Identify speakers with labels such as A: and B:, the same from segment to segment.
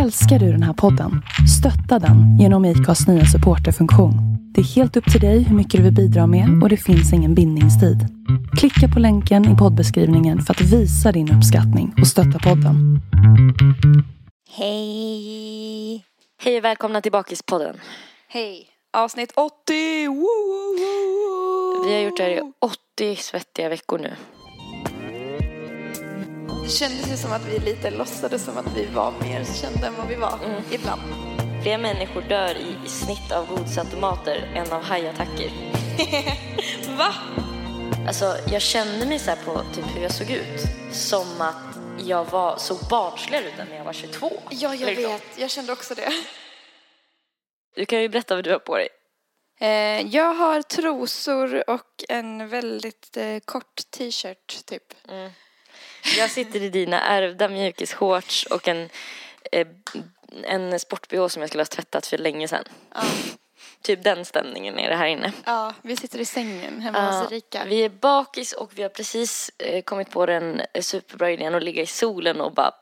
A: Älskar du den här podden? Stötta den genom IKAs nya supporterfunktion. Det är helt upp till dig hur mycket du vill bidra med och det finns ingen bindningstid. Klicka på länken i poddbeskrivningen för att visa din uppskattning och stötta podden.
B: Hej!
C: Hej och välkomna till Bakispodden.
B: Hej! Avsnitt 80! Woo, woo, woo.
C: Vi har gjort det här i 80 svettiga veckor nu.
B: Det kändes ju som att vi lite låtsades som att vi var mer kända än vad vi var ibland.
C: Fler människor dör i snitt av godisautomater än av hajattacker.
B: Va?
C: Alltså, jag kände mig så här på typ hur jag såg ut. Som att jag var så barnslig ut när jag var Liksom. 22.
B: Ja, jag
C: Eller så.
B: vet. Jag kände också det.
C: Du kan ju berätta vad du har på dig.
B: Eh, jag har trosor och en väldigt eh, kort t-shirt, typ.
C: Jag sitter i dina ärvda mjukisshorts och en, eh, en sport-bh som jag skulle ha tvättat för länge sedan.
B: Ja,
C: Typ den stämningen är det här inne.
B: ja, vi sitter i sängen hemma
C: Ja,
B: hos Erika.
C: Vi är bakis och vi har precis eh, kommit på den eh, superbra idén att ligga i solen och bara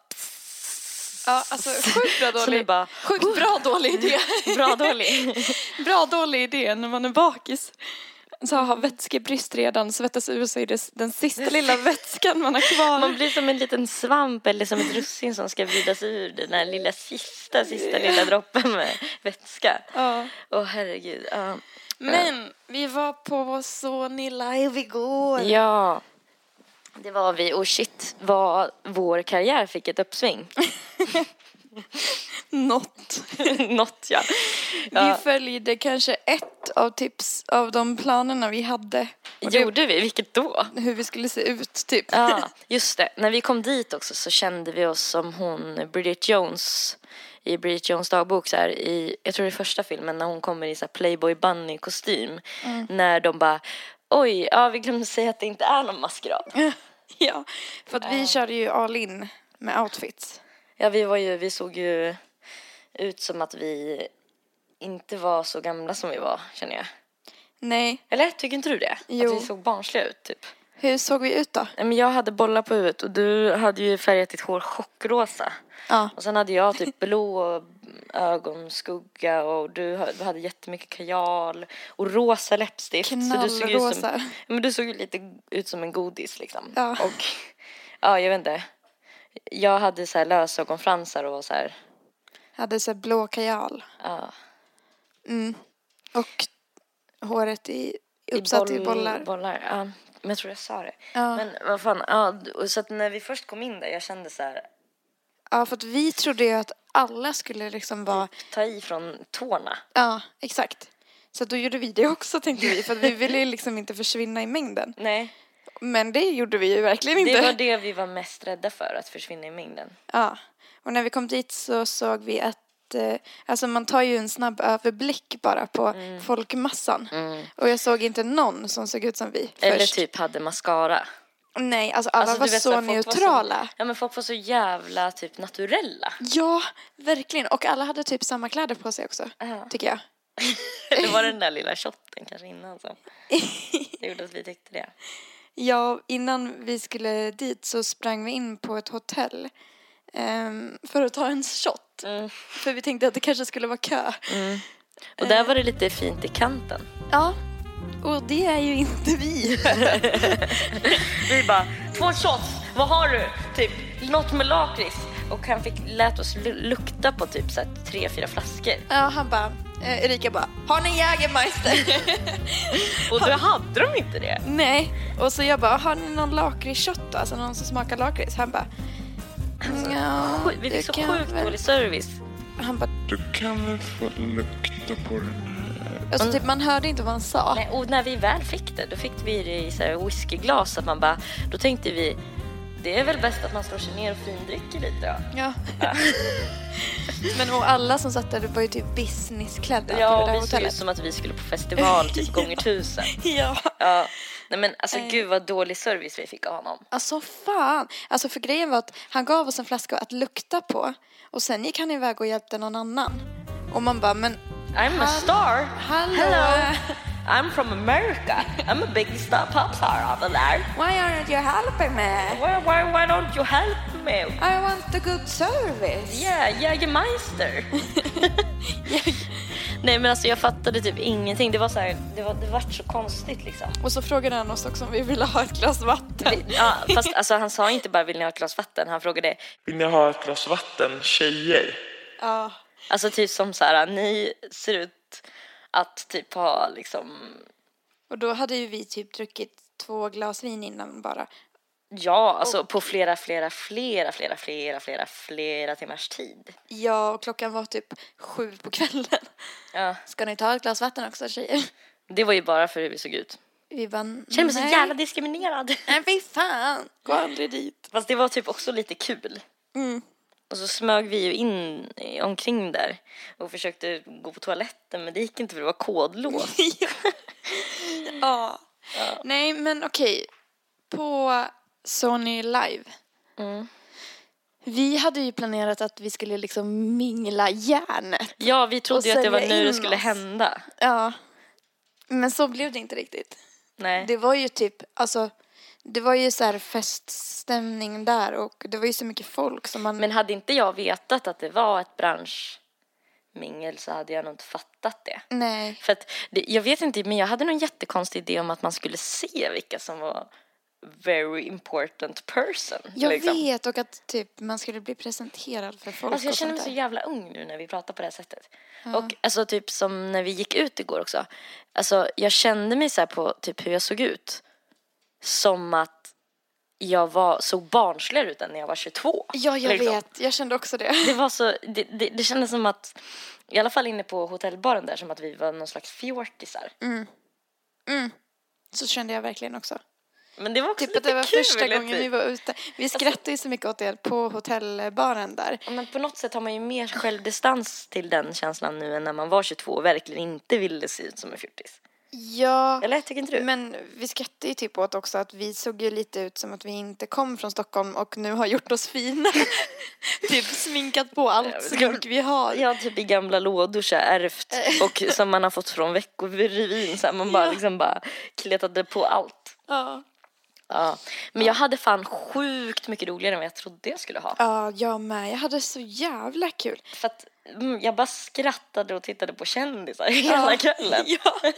B: Ja, alltså sjukt bra
C: Så ni
B: dålig.
C: bara
B: Sjukt bra dålig idé.
C: bra dålig.
B: Bra dålig idé när man är bakis. Så har vätskebrist redan, svettas ur sig det- den sista lilla vätskan man har kvar.
C: Man blir som en liten svamp eller som ett russin som ska vridas ur den där lilla sista, sista lilla droppen med vätska.
B: Ja.
C: Åh herregud. ja.
B: Men vi var på Sony Live igår.
C: Ja, det var vi och shit vad vår karriär fick ett uppsving.
B: Något.
C: Något ja. ja.
B: Vi följde kanske ett av tips av de planerna vi hade. Och det-
C: Gjorde vi? Vilket då?
B: Hur vi skulle se ut, typ.
C: Ja, just det. När vi kom dit också så kände vi oss som hon Bridget Jones i Bridget Jones dagbok så här, i, jag tror det är första filmen när hon kommer i så här Playboy Bunny kostym. När de bara, oj, ja vi glömde säga att det inte är någon maskerad.
B: Ja. För att vi körde ju all in med outfits.
C: Ja, vi var ju, vi såg ju ut som att vi inte var så gamla som vi var, känner jag.
B: Nej,
C: Eller tycker inte du det?
B: Jo.
C: Att vi såg barnsliga ut typ.
B: hur såg vi ut då?
C: Nej, men jag hade bollar på huvudet och du hade ju färgat ditt hår chockrosa.
B: Ja.
C: Och sen hade jag typ blå ögonskugga och du ha- hade jättemycket kajal och rosa läppstift. Så du såg ju ut
B: Knallrosa.
C: som, men du såg ju lite ut som en godis liksom.
B: Ja.
C: Och ja, jag vet inte. Jag hade så här lösögonfransar och var så här,
B: Hade så här blå kajal.
C: ja.
B: Mm. Och håret i,
C: i
B: uppsatt i
C: boll-
B: bollar.
C: bollar. Ja, men jag tror jag sa det.
B: Ja.
C: Men vad fan, ja, d- och så att när vi först kom in där jag kände så här,
B: Ja, för att vi trodde ju att alla skulle liksom vara...
C: ta i från tårna.
B: Ja, exakt. Så då gjorde vi det också tänkte vi, för att vi ville ju liksom inte försvinna i mängden.
C: Nej,
B: Men det gjorde vi ju verkligen inte.
C: det var det vi var mest rädda för, att försvinna i mängden.
B: Ja, och när vi kom dit så såg vi att eh, Alltså man tar ju en snabb överblick bara på
C: Mm.
B: folkmassan. Och jag såg inte någon som såg ut som vi
C: Eller
B: först.
C: typ hade mascara.
B: Nej, alltså alla
C: Alltså, du
B: var
C: vet,
B: så
C: här, folk
B: neutrala.
C: Var så, ja men folk var så jävla typ naturella.
B: Ja, verkligen. Och alla hade typ samma kläder på sig också,
C: Ja.
B: tycker jag.
C: Det var den där lilla shotten kanske innan som det gjorde att vi tyckte det.
B: Ja, innan vi skulle dit så sprang vi in på ett hotell ehm, för att ta en shot.
C: Mm.
B: För vi tänkte att det kanske skulle vara kö.
C: Och där var det lite fint i kanten.
B: Ja, och det är ju inte vi.
C: Vi bara, två shots, vad har du? Typ något med lakrits. Och han fick, lät oss lu- lukta på typ så här, tre, fyra flaskor.
B: ja, han bara, eh, Erika bara, har ni Jägermeister?
C: Och då hade de inte det.
B: Nej, och så jag bara, har ni någon lakritsshot då? Alltså någon som smakar lakrits? Han bara, "Nja,
C: Sju- Vi
B: det
C: fick så
B: kan
C: sjukt
B: väl-"
C: dålig service.
B: Han bara,
D: Du kan väl få lukta på den?
B: alltså typ man hörde inte vad han sa.
C: Nej, och när vi väl fick det, då fick vi det i så här whiskyglas. Att man bara, då tänkte vi, det är väl bäst att man slår sig ner och findricker lite då.
B: Ja. Men och alla som satt där var ju typ businessklädda
C: Ja,
B: på
C: och
B: det
C: vi
B: där
C: såg ut
B: hotellet.
C: som att vi skulle på festival typ gånger tusen.
B: Ja.
C: Ja. Nej men alltså
B: Eh.
C: gud vad dålig service vi fick av honom.
B: Alltså fan. Alltså för grejen var att han gav oss en flaska att lukta på och sen gick han iväg och hjälpte någon annan. Och man bara, men
C: I'm a star!
B: hallå,
C: Hello! I'm from America! I'm a big star pop star over there!
B: why aren't you helping me?
C: Why, why, why don't you help milk.
B: I want the good service.
C: Yeah, Jägermeister. Nej men alltså jag fattade typ ingenting. Det var så här, det, var, det vart så konstigt liksom.
B: Och så frågade han oss också om vi ville ha ett glas vatten.
C: Ja, fast alltså han sa inte bara vill ni ha ett glas vatten? Han frågade
E: Vill ni ha ett glas vatten, tjejer?
B: Ja.
C: Alltså typ som så här, ni ser ut att typ ha liksom,
B: Och då hade ju vi typ druckit två glas vin innan bara.
C: ja, alltså på flera, flera, flera, flera, flera, flera, flera timmars tid.
B: Ja, och klockan var typ sju på kvällen.
C: Ja.
B: Ska ni ta ett glas vatten också tjejer?
C: Det var ju bara för hur vi såg ut.
B: Vi bara, Mm, nej.
C: Känner mig så jävla diskriminerad.
B: Nej, fy fan. Gå aldrig dit.
C: Fast det var typ också lite kul.
B: Mm.
C: Och så smög vi ju in eh, omkring där och försökte gå på toaletten men det gick inte för det var kodlås.
B: Ja. Nej, men okej. På Sony Live.
C: Mm.
B: Vi hade ju planerat att vi skulle liksom mingla järnet.
C: Ja, vi
B: Och
C: trodde ju att det var
B: sälja
C: nu
B: in
C: det skulle
B: oss.
C: hända.
B: Ja. Men så blev det inte riktigt.
C: Nej.
B: Det var ju typ, alltså, det var ju så här feststämning där och det var ju så mycket folk som man...
C: Men hade inte jag vetat att det var ett branschmingel så hade jag nog inte fattat det.
B: Nej.
C: För att, det, jag vet inte, men jag hade någon jättekonstig idé om att man skulle se vilka som var very important person.
B: Jag
C: liksom.
B: vet och att typ man skulle bli presenterad för folk
C: Alltså jag
B: och
C: känner mig
B: sånt
C: så
B: där.
C: jävla ung nu när vi pratar på det här sättet. Och alltså typ som när vi gick ut igår också. Alltså jag kände mig så här på typ hur jag såg ut. Som att jag var, såg barnsligare ut än när jag var 22.
B: Ja, jag
C: liksom.
B: vet. Jag kände också det.
C: Det var så, det, det, det kändes som att, i alla fall inne på hotellbaren där, som att vi var någon slags fjortisar.
B: Mm. Så kände jag verkligen också.
C: Men det var också
B: Typ att
C: lite
B: det var
C: kul.
B: första gången
C: typ.
B: vi var ute. Vi skrattade ju så mycket åt det på hotellbaren där.
C: Ja, Men på något sätt har man ju mer självdistans till den känslan nu än när man var 22 och verkligen inte ville se ut som en fjortis.
B: Ja,
C: Eller tycker inte du?
B: men vi skrattade ju typ åt också att vi såg ju lite ut som att vi inte kom från Stockholm och nu har gjort oss fina. typ sminkat på
C: Ja,
B: allt
C: men ska-
B: smink vi har.
C: Ja, typ i gamla lådor så här, ärvt och som man har fått från veckorevyn. Så här, man bara liksom bara kletade på allt.
B: Ja,
C: Ja. Men jag hade fan sjukt mycket roligare än vad jag trodde jag skulle ha.
B: ja jag med. Jag hade så jävla kul.
C: För att mm, jag bara skrattade och tittade på kändisar hela kvällen.
B: Ja,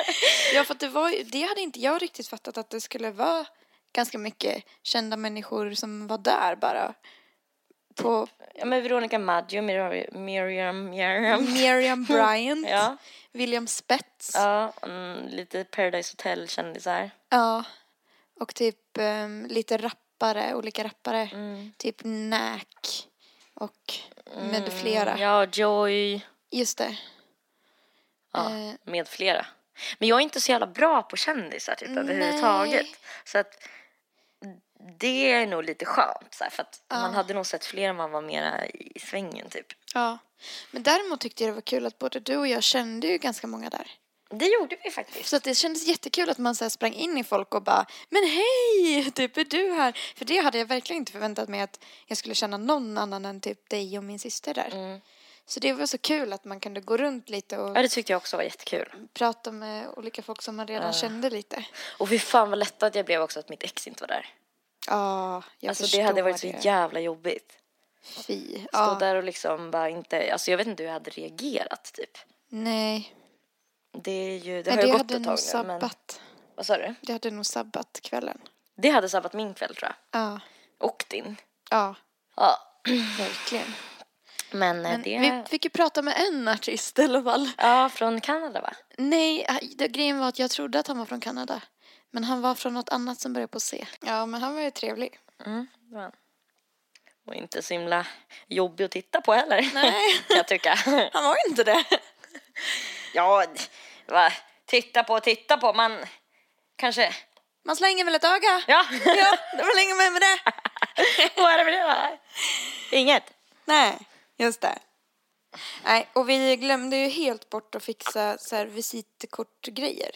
B: ja för att det var ju- det hade inte jag riktigt fattat att det skulle vara ganska mycket kända människor som var där bara. På
C: Ja, men Veronica Maggio, Mir- Miriam,
B: Mm.
C: Miriam.
B: Miriam Bryant,
C: Ja,
B: William Spets.
C: ja mm, lite Paradise Hotel-kändisar.
B: Ja. Och typ ehm, lite rappare, olika rappare.
C: Mm.
B: Typ Nack och med flera.
C: Mm, Ja, Joy.
B: Just det.
C: Ja,
B: Eh.
C: med flera. Men jag är inte så jävla bra på kändisar typ,
B: Nej.
C: överhuvudtaget. Så att det är nog lite skönt så här, för att man hade nog sett fler om man var mera i svängen typ.
B: Ja. Men däremot tyckte jag det var kul att både du och jag kände ju ganska många där.
C: Det gjorde vi faktiskt.
B: Så att det kändes jättekul att man så här sprang in i folk och bara Men hej! Typ är du här? För det hade jag verkligen inte förväntat mig att jag skulle känna någon annan än typ dig och min syster där.
C: Mm.
B: Så det var så kul att man kunde gå runt lite och
C: Ja, det tyckte jag också var jättekul.
B: prata med olika folk som man redan kände lite.
C: Och fy fan vad lättad jag blev också att mitt ex inte var där.
B: Ja, jag
C: alltså
B: förstår
C: det hade varit så
B: det.
C: jävla jobbigt.
B: Fy.
C: Stå
B: Ja.
C: där och liksom bara inte, alltså jag vet inte hur jag hade reagerat typ.
B: Nej,
C: Det är ju, det
B: men
C: har ju
B: det
C: gått
B: hade
C: ett
B: nog
C: tag nu men.
B: sabbat.
C: Vad sa du?
B: Det hade nog sabbat kvällen.
C: Det hade sabbat min kväll tror
B: Ja,
C: jag. Och din.
B: ja,
C: Ja.
B: verkligen.
C: Men, eh,
B: Men
C: det...
B: vi fick ju prata med en artist i alla fall.
C: Ja, från Kanada va?
B: Nej, eh, det- grejen var att jag trodde att han var från Kanada. Men han var från något annat som började på C. Ja, men han var ju trevlig.
C: Mm, det var han. Och inte så himla jobbig att titta på heller.
B: Nej.
C: kan jag tycka.
B: Han var ju inte det.
C: ja, va? titta på, titta på, man kanske...
B: Man slänger väl ett öga?
C: Ja,
B: ja det var länge med, med det.
C: vad är det med det va? Inget.
B: Nej, just det. Nej, och vi glömde ju helt bort att fixa så här visitkortgrejer.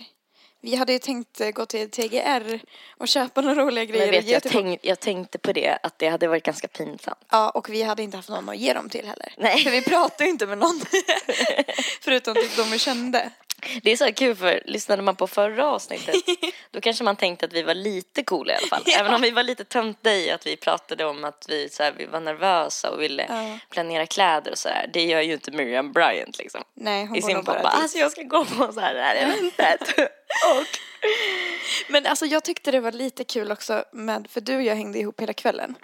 B: Vi hade ju tänkt eh, gå till TGR och köpa några roliga grejer.
C: Men
B: och
C: vet,
B: ge
C: jag,
B: till
C: tänk, jag tänkte på det, att det hade varit ganska pinsamt.
B: Ja, och vi hade inte haft någon att ge dem till heller.
C: Nej.
B: För vi pratade ju inte med någon. Förutom typ de vi kände.
C: Det är så här kul för lyssnade man på förra avsnittet då kanske man tänkte att vi var lite coola i alla fall.
B: Ja.
C: Även om vi var lite töntiga i att vi pratade om att vi, så här, vi var nervösa och ville
B: Ja.
C: planera kläder och sådär. Det gör ju inte Miriam Bryant liksom.
B: Nej, hon
C: I
B: går
C: sin
B: nog
C: pappa.
B: bara dit.
C: Alltså jag ska gå på så här det här eventet. och
B: Men alltså jag tyckte det var lite kul också med, för du och jag hängde ihop hela kvällen.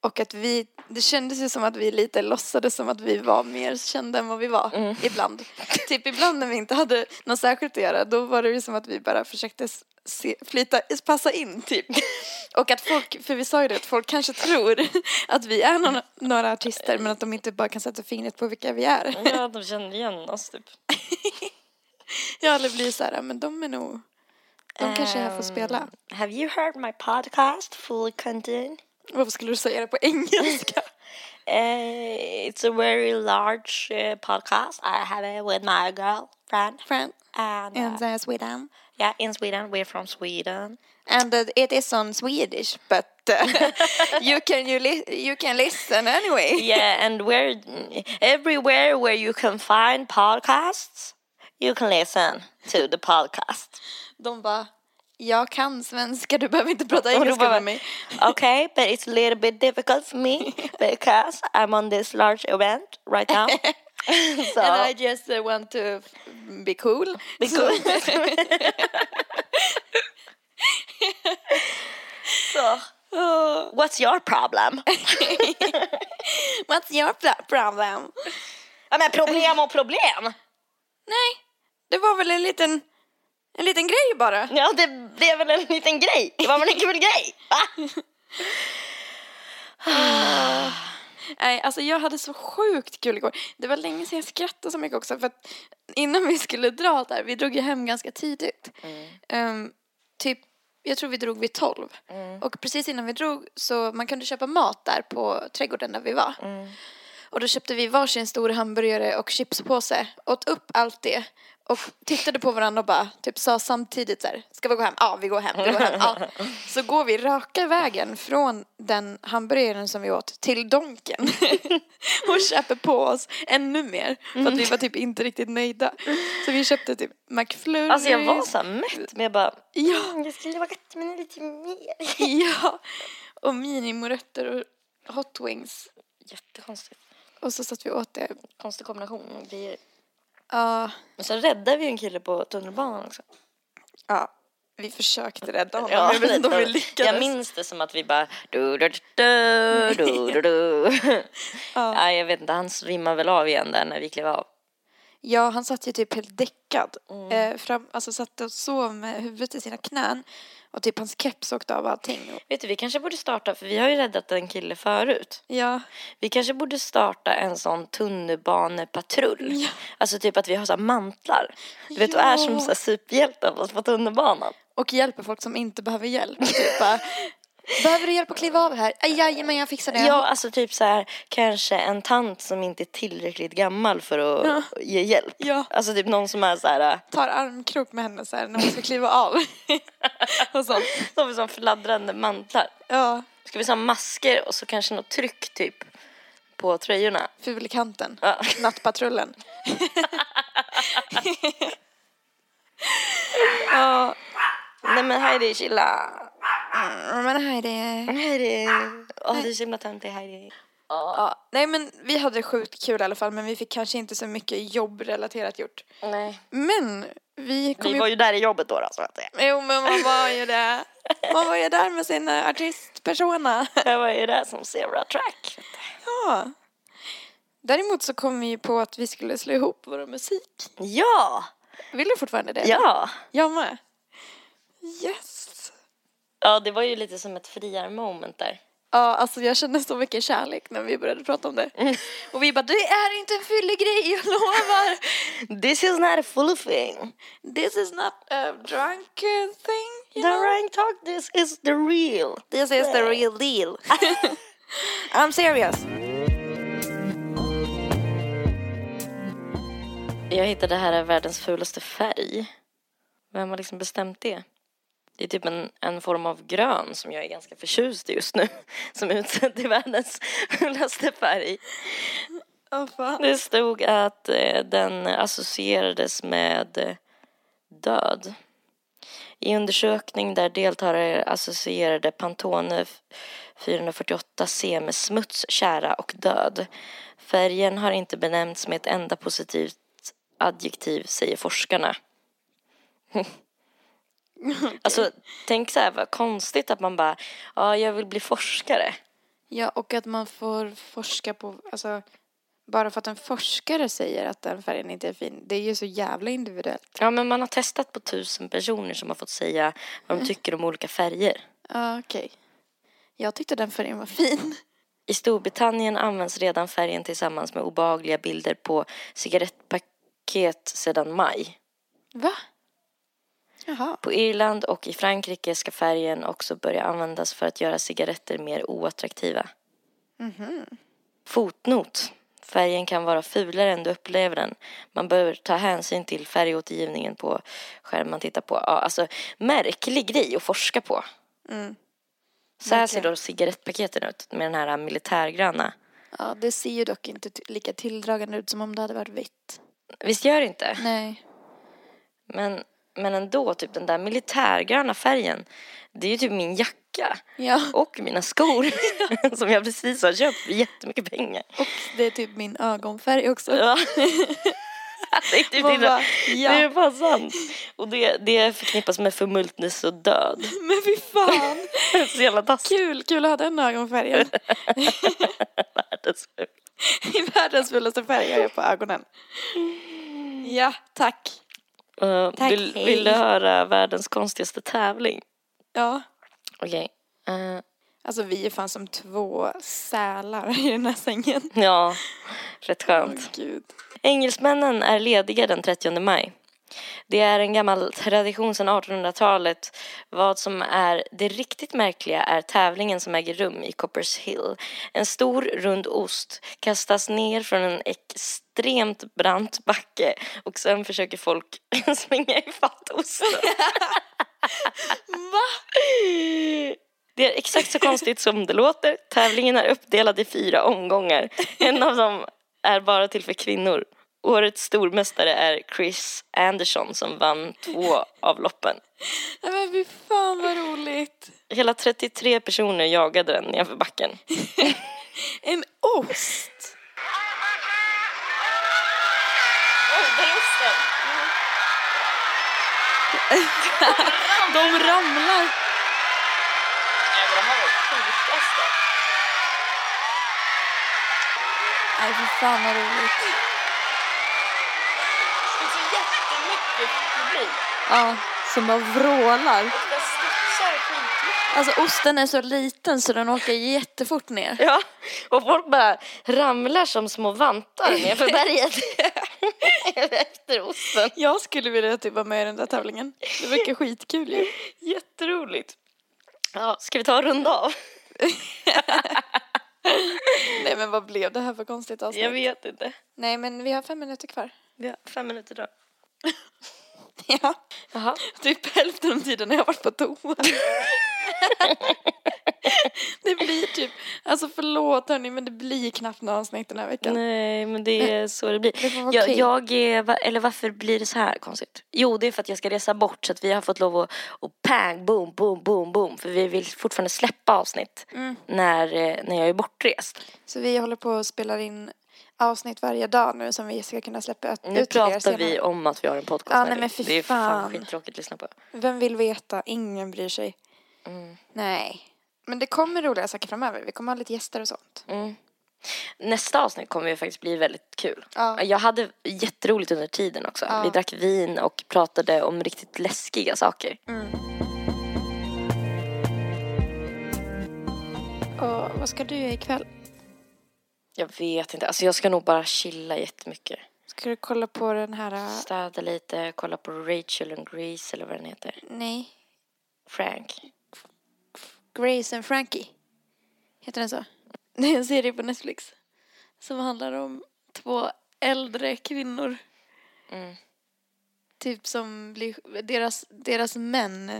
B: Och att vi, det kändes ju som att vi lite låtsades som att vi var mer kända än vad vi var. Ibland. typ ibland när vi inte hade något särskilt att göra, då var det ju som att vi bara försökte s- se, flyta, passa in typ. Och att folk, för vi sa ju det, att folk kanske tror att vi är någon, några artister men att de inte bara kan sätta fingret på vilka vi är.
C: ja, de kände igen oss typ.
B: Ja, eller blir så här, men de är nog, de kanske är här för att spela.
C: Have you heard my podcast Full Contain?
B: Varför skulle du säga det på engelska?
C: Eh, it's a very large eh, podcast I have it with my girlfriend.
B: Friend.
C: And, uh,
B: And uh, Sweden.
C: yeah, in Sweden, we're from Sweden.
B: And uh, it is on Swedish, but uh, you can you, li- you can listen anyway.
C: Yeah, and where everywhere where you can find podcasts, you can listen to the podcast.
B: De bara, jag kan svenska, du behöver inte prata
C: Och då
B: engelska
C: bara-
B: med mig.
C: Okay, but it's a little bit difficult for me because I'm on this large event right now. so
B: And I just uh, want to be cool.
C: Be cool. so, what's your problem?
B: What's your pla- problem?
C: Ja, men problem och problem.
B: Nej, det var väl en liten, en liten grej bara.
C: Ja, det blev väl en liten grej. Det var väl en kul grej? Va?
B: Nej, alltså jag hade så sjukt kul igår. Det var länge sedan jag skrattade så mycket också för att innan vi skulle dra där, vi drog ju hem ganska tidigt. Ehm, typ, jag tror vi drog vid tolv. Och precis innan vi drog så man kunde köpa mat där på trädgården där vi var. Och då köpte vi varsin stor hamburgare och chipspåse, åt upp allt det och tittade på varandra och bara typ sa samtidigt så här, ska vi gå hem? Ja, vi går hem. Vi går hem. Ja. Så går vi raka vägen från den hamburgaren som vi åt till Donken och köper på oss ännu mer för
C: Mm.
B: att vi var typ inte riktigt nöjda. Så vi köpte typ McFlurry.
C: Alltså jag var så här mätt men jag bara, "Mm,
B: Ja,
C: jag skulle varit med lite mer.
B: ja. Och minimorötter och hot wings.
C: Jättekonstigt.
B: Och så satt vi åt det.
C: Konstig kombination av grejer.
B: Ja,
C: Men så räddade vi en kille på tunnelbanan också.
B: ja. Vi försökte rädda honom. jag vet inte om vi
C: lite.
B: lyckades.
C: Jag minns det som att vi bara du, du, du, du, du, du, du.
B: Ja.
C: Nej, jag vet inte, han svimmade väl av igen där när vi klev av.
B: Ja, han satt ju typ helt däckad.
C: Mm.
B: Eh, fram, alltså satt och sov med huvudet i sina knän. Och typ hans keps åkte av och allting. Och,
C: Vet du, vi kanske borde starta, för vi har ju räddat en kille förut.
B: ja.
C: Vi kanske borde starta en sån tunnelbanepatrull. Alltså typ att vi har så här mantlar. Du vet, och är som
B: Ja.
C: så här superhjältar fast på tunnelbanan.
B: Och hjälper folk som inte behöver hjälp. Typ bara, behöver du hjälp att kliva av här? "Aj, Jajamän, jag fixar det.
C: Ja, alltså typ så här kanske en tant som inte är tillräckligt gammal för att ge hjälp.
B: Ja.
C: Alltså typ någon som är så här,
B: Tar armkrok med henne så här när hon ska kliva av. och sånt.
C: som har sån fladdrande mantlar.
B: Ja,
C: Ska vi ha masker och så kanske något tryck typ på tröjorna?
B: Fulkanten.
C: Ja.
B: Nattpatrullen. ja,
C: Nej men Heidi, chilla.
B: men här är det...
C: Heidi. Åh, det är så himla töntig Heidi.
B: Ja, nej men vi hade sjukt kul i alla fall men vi fick kanske inte så mycket jobbrelaterat gjort.
C: Nej.
B: Men vi kom
C: Vi
B: ju...
C: var ju där i jobbet då, då så att säga.
B: Jo men man var ju det. Man var ju där med sin eh, artistpersona.
C: Jag var ju där som Zebra Track.
B: Ja. Däremot så kom vi ju på att vi skulle slå ihop våra musik.
C: Ja!
B: Vill du fortfarande det?
C: Ja!
B: Jag med. Yes.
C: Ja, det var ju lite som ett friare moment där.
B: Ja, alltså jag kände så mycket kärlek när vi började prata om det.
C: Mm.
B: Och vi bara, det är inte en fyllig grej, jag lovar.
C: This is not a full thing.
B: This is not a drunk eh, thing.
C: The rank talk, this is the real.
B: This is the real deal. I'm serious.
C: Jag hittade här är världens fulaste färg. Vem har liksom bestämt det? Det är typ en, en form av grön som jag är ganska förtjust i just nu. Som är utsedd till världens fulaste färg.
B: Åh fan.
C: Det stod att eh, den associerades med eh, död. I undersökning där deltagare associerade Pantone f- 448C med smuts, kära och död. Färgen har inte benämnts med ett enda positivt adjektiv, säger forskarna. Alltså, tänk så här, vad konstigt att man bara, ja, jag vill bli forskare.
B: Ja, och att man får forska på, alltså bara för att en forskare säger att den färgen inte är fin, det är ju så jävla individuellt.
C: Ja, men man har testat på tusen personer som har fått säga vad de tycker om olika färger.
B: Ja, okej. Jag tyckte den färgen var fin.
C: I Storbritannien används redan färgen tillsammans med obehagliga bilder på cigarettpaket sedan maj.
B: Va? Jaha.
C: På Irland och i Frankrike ska färgen också börja användas för att göra cigaretter mer oattraktiva. Fotnot. Färgen kan vara fulare än du upplever den. Man bör ta hänsyn till färgåtergivningen på skärmen man tittar på. Ja, alltså, märklig grej att forska på.
B: Mm.
C: Så här ser då cigarettpaketen ut med den här militärgröna.
B: Ja, det ser ju dock inte t- lika tilldragande ut som om det hade varit vitt.
C: Visst gör det inte?
B: Nej.
C: Men, men ändå, typ den där militärgröna färgen. Det är ju typ min jacka.
B: Ja,
C: Och mina skor. som jag precis har köpt för jättemycket pengar.
B: och det är typ min ögonfärg också.
C: Ja. det är typ
B: Man
C: det.
B: bara,
C: Det är
B: ja.
C: fan sant. Och det, det förknippas med förmultnelse och död.
B: Men fy fan.
C: Så jävla taskigt.
B: Kul, kul att ha den ögonfärgen. I världens fulaste färg har jag på ögonen. Ja, tack.
C: Uh,
B: Tack,
C: vill,
B: hej.
C: vill du höra världens konstigaste tävling?
B: Ja.
C: Okej. Eh,
B: Alltså vi är fan som två sälar i den här sängen.
C: ja, rätt
B: Åh
C: skönt.
B: gud.
C: Engelsmännen är lediga den 30 maj. Det är en gammal tradition sedan 1800-talet. Vad som är det riktigt märkliga är tävlingen som äger rum i Coppers Hill. En stor rund ost kastas ner från en extremt brant backe och sen försöker folk springa ifatt osten.
B: Va?
C: Det är exakt så konstigt som det låter. Tävlingen är uppdelad i fyra omgångar. En av dem är bara till för kvinnor. Årets stormästare är Chris Anderson som vann två av loppen.
B: Nej, Men fy fan vad roligt.
C: Hela 33 personer jagade den nerför backen.
B: En ost. De ramlar. Nej fy fan vad roligt. Ja, som bara vrålar. Alltså osten är så liten så den åker jättefort ner.
C: Ja, och folk bara ramlar som små vantar nerför berget. Efter osten.
B: Jag skulle vilja typ vara med i den där tävlingen. Det verkar skitkul ju.
C: Jätteroligt. Ja, ska vi ta en runda av?
B: Nej men vad blev det här för konstigt avsnitt?
C: Jag vet inte.
B: Nej men vi har fem minuter kvar.
C: Vi har fem minuter då.
B: Ja.
C: Jaha.
B: Typ hälften av tiden har jag varit på toa. det blir typ, alltså förlåt hörni men det blir knappt några avsnitt den här veckan.
C: Nej, men det är så det blir.
B: Det får vara
C: Jag,
B: okej.
C: jag är, va- eller varför blir det så här konstigt? Jo, det är för att jag ska resa bort så att vi har fått lov att, och pang, boom, boom, boom, boom. För vi vill fortfarande släppa avsnitt när, eh, när jag är bortrest.
B: Så vi håller på och spelar in avsnitt varje dag nu som vi ska kunna släppa ut
C: Nu
B: ut till er
C: pratar vi
B: senare.
C: om att vi har en podcast.
B: Ja,
C: här.
B: nej, men fy
C: det är fan
B: fan.
C: skittråkigt att lyssna på.
B: Vem vill veta? Ingen bryr sig. Mm. Nej. Men det kommer roliga saker framöver. Vi kommer ha lite gäster och sånt.
C: Mm. Nästa avsnitt kommer ju faktiskt bli väldigt kul.
B: Ja.
C: Jag hade jätteroligt under tiden också.
B: Ja.
C: Vi drack vin och pratade om riktigt läskiga saker.
B: Mm. Och vad ska du göra ikväll?
C: Jag vet inte. Alltså jag ska nog bara chilla jättemycket.
B: Ska du kolla på den här? äh,
C: Städa lite, kolla på Rachel and Grace eller vad den heter.
B: Nej.
C: Frank.
B: Grace and Frankie. Heter den så? Det är en serie på Netflix. Som handlar om två äldre kvinnor.
C: Mm.
B: Typ som blir, deras, deras män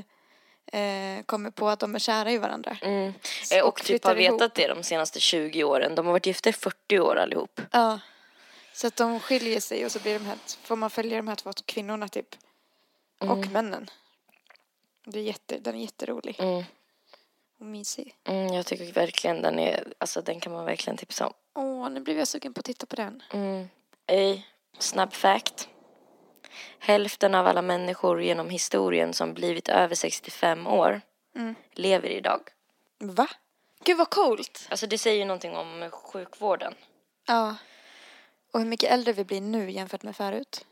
B: eh, kommer på att de är kära i varandra.
C: Mm.
B: Så-
C: Eh,
B: och
C: Och typ har
B: flyttar ihop.
C: vetat det de senaste 20 åren. De har varit gifta i 40 år allihop.
B: Ja. Så att de skiljer sig och så blir de här, får man följa de här två kvinnorna typ. Och männen. Det är jätte, den är jätterolig
C: Mm.
B: och mysig.
C: Mm, jag tycker verkligen den är, alltså den kan man verkligen tipsa om.
B: Åh, nu blev jag sugen på att titta på den.
C: Mm. Ey, snabb fact. Hälften av alla människor genom historien som blivit över 65 år
B: Mm.
C: lever idag.
B: Va? Gud vad coolt!
C: Alltså det säger ju någonting om sjukvården.
B: Ja. Och hur mycket äldre vi blir nu jämfört med förut.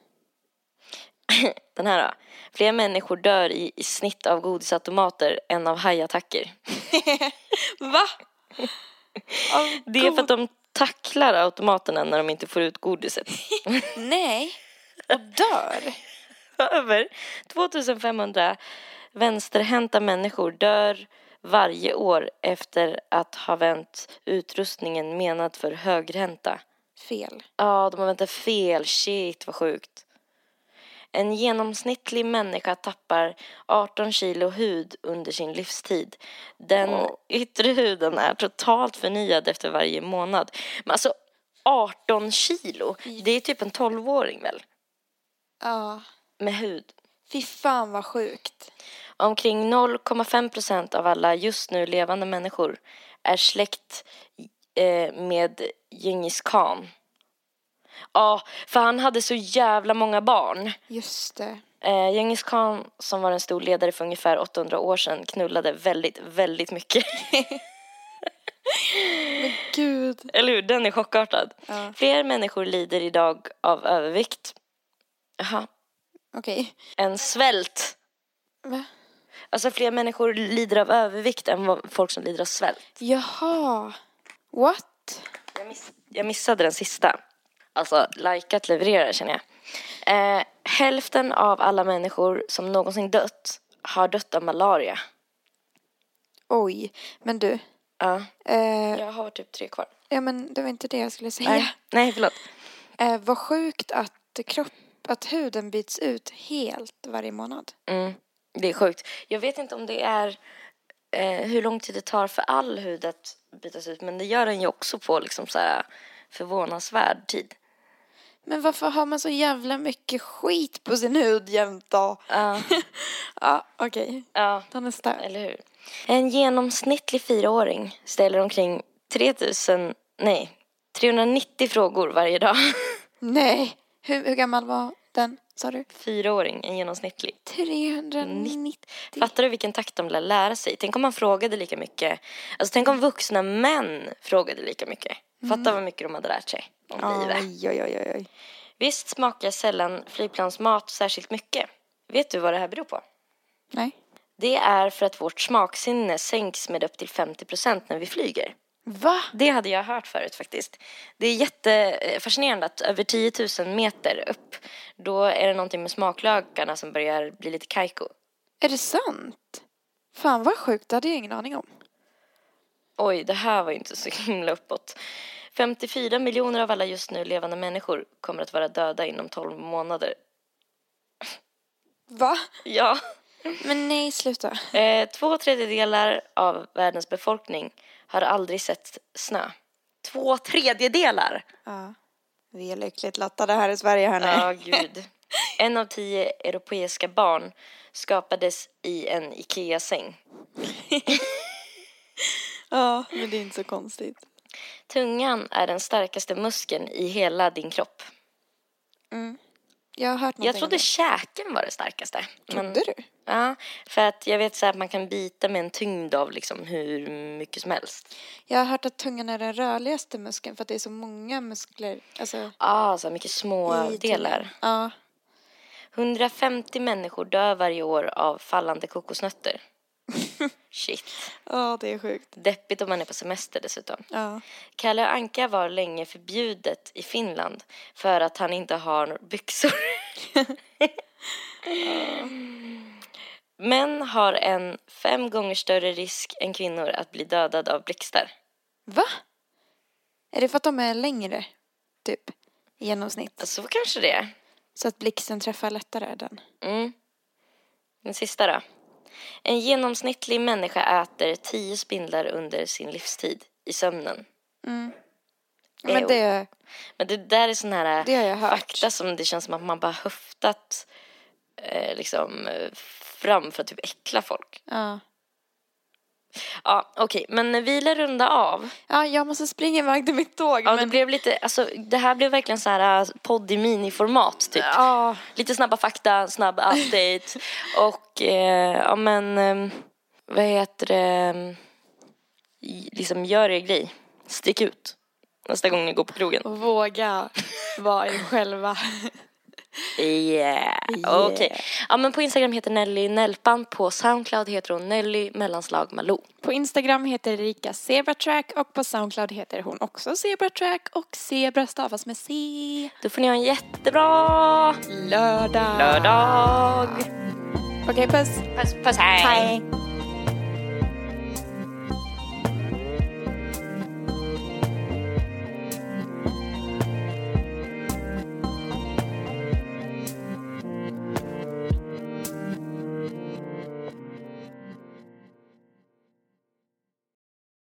C: Den här då. Fler människor dör i, i snitt av godisautomater än av hajattacker.
B: Va? Av
C: Det är för att
B: god-
C: de tacklar automaterna när de inte får ut godiset.
B: Nej! Och dör?
C: Över 2500 vänsterhänta människor dör varje år efter att ha vänt utrustningen menad för högerhänta.
B: Fel.
C: Ja, de har väntat fel. Shit, vad sjukt. En genomsnittlig människa tappar 18 kilo hud under sin livstid. Den yttre huden är totalt förnyad efter varje månad. Men alltså, 18 kilo? Det är typ en 12-åring väl?
B: Ja.
C: Med hud.
B: Fy fan vad sjukt.
C: Omkring 0,5 procent av alla just nu levande människor är släkt eh, med Djingis khan. Ja, för han hade så jävla många barn.
B: Just det.
C: Eh, Djingis khan, som var en stor ledare för ungefär 800 år sedan, knullade väldigt, väldigt mycket.
B: Gud.
C: Eller hur? Den är chockartad.
B: Ja.
C: Fler människor lider idag av övervikt. Jaha.
B: Okej.
C: En svält.
B: Va?
C: Alltså fler människor lider av övervikt än vad folk som lider av svält.
B: Jaha. What?
C: Jag, miss, jag missade den sista. Alltså, likat levererar känner jag. Eh, hälften av alla människor som någonsin dött har dött av malaria.
B: Oj. Men du.
C: Ja.
B: Eh,
C: Jag har typ tre kvar.
B: ja men det var inte det jag skulle säga.
C: Nej, nej förlåt.
B: Eh, vad sjukt att, kropp, att huden byts ut helt varje månad.
C: Mm, det är sjukt. Jag vet inte om det är eh, hur lång tid det tar för all hud att bytas ut men det gör den ju också på liksom så här förvånansvärd tid.
B: Men varför har man så jävla mycket skit på sin hud jämt då?
C: Ja,
B: Ja, okej. Okay.
C: ja.
B: Ta nästa.
C: Eller hur? En genomsnittlig fyraåring ställer omkring 3000, nej, 390 frågor varje dag.
B: Nej. Hur, hur gammal var den, sa
C: Mm,
B: du?
C: Fyraåring, en genomsnittlig.
B: 390.
C: Fattar du vilken takt de lär lära sig? Tänk om man frågade lika mycket. Alltså tänk om vuxna män frågade lika mycket. Fatta vad mycket de hade lärt sig om livet.
B: Oj, oj, oj, oj.
C: Visst smakar sällan flygplansmat särskilt mycket. Vet du vad det här beror på?
B: Nej.
C: Det är för att vårt smaksinne sänks med upp till 50% när vi flyger.
B: Va?
C: Det hade jag hört förut faktiskt. Det är jättefascinerande att över 10 000 meter upp, då är det någonting med smaklökarna som börjar bli lite kajko.
B: Är det sant? Fan vad sjukt, det hade jag ingen aning om.
C: Oj, det här var ju inte så himla uppåt. 54 miljoner av alla just nu levande människor kommer att vara döda inom 12 månader.
B: Va?
C: Ja.
B: Men nej, sluta.
C: Eh, två tredjedelar av världens befolkning har aldrig sett snö. Två tredjedelar!
B: Ja. Vi är lyckligt lottade här i Sverige, hörni.
C: Ja, gud. En av tio europeiska barn skapades i en Ikea-säng.
B: ja, men det är inte så konstigt.
C: Tungan är den starkaste muskeln i hela din kropp.
B: Jag har hört någonting
C: Jag trodde
B: om
C: käken var det Typ. starkaste.
B: det.
C: men-
B: Trodde du?
C: Ja, för att jag vet så här att man kan bita med en tyngd av liksom hur mycket som helst.
B: Jag har hört att tungan är den rörligaste muskeln för att det är så många muskler. Alltså,
C: Ah, så här mycket små
B: i
C: delar.
B: tungan. Ja.
C: 150 människor dör varje år av fallande kokosnötter. Shit.
B: ja, det är sjukt.
C: Deppigt om man är på semester dessutom.
B: Ja.
C: Kalle Anka var länge förbjudet i Finland för att han inte har några byxor. Män har en fem gånger större risk än kvinnor att bli dödad av blixtar.
B: Va? Är det för att de är längre, typ, i genomsnitt?
C: Så kanske det är.
B: Så att blixten träffar lättare den?
C: Mm. Den sista då. En genomsnittlig människa äter tio spindlar under sin livstid i sömnen.
B: Men
C: Jo.
B: det,
C: Men det där är sån här
B: det har jag hört.
C: fakta som det känns som att man bara höftat eh, liksom eh, fram för att typ äckla folk.
B: Ja.
C: Ja, okej, men vi lär runda av.
B: ja, jag måste springa iväg till mitt tåg.
C: Ja, det
B: men,
C: blev lite, alltså det här blev verkligen så här eh, podd i miniformat typ.
B: ja,
C: Lite snabba fakta, snabb update och eh, ja men eh, vad heter det, ehm, I- liksom gör er grej, stick ut nästa gång ni går på krogen.
B: och våga vara er själva.
C: Yeah,
B: Yeah.
C: okej. Ja men på Instagram heter Nelly Nelpan, på Soundcloud heter hon Nelly mellanslag Malou.
B: På Instagram heter Erika Zebratrack och på Soundcloud heter hon också Zebratrack och Zebra stavas med C.
C: Då får ni ha en jättebra
B: Lördag.
C: lördag.
B: Okej, puss.
C: Puss, puss hej.
B: Hej.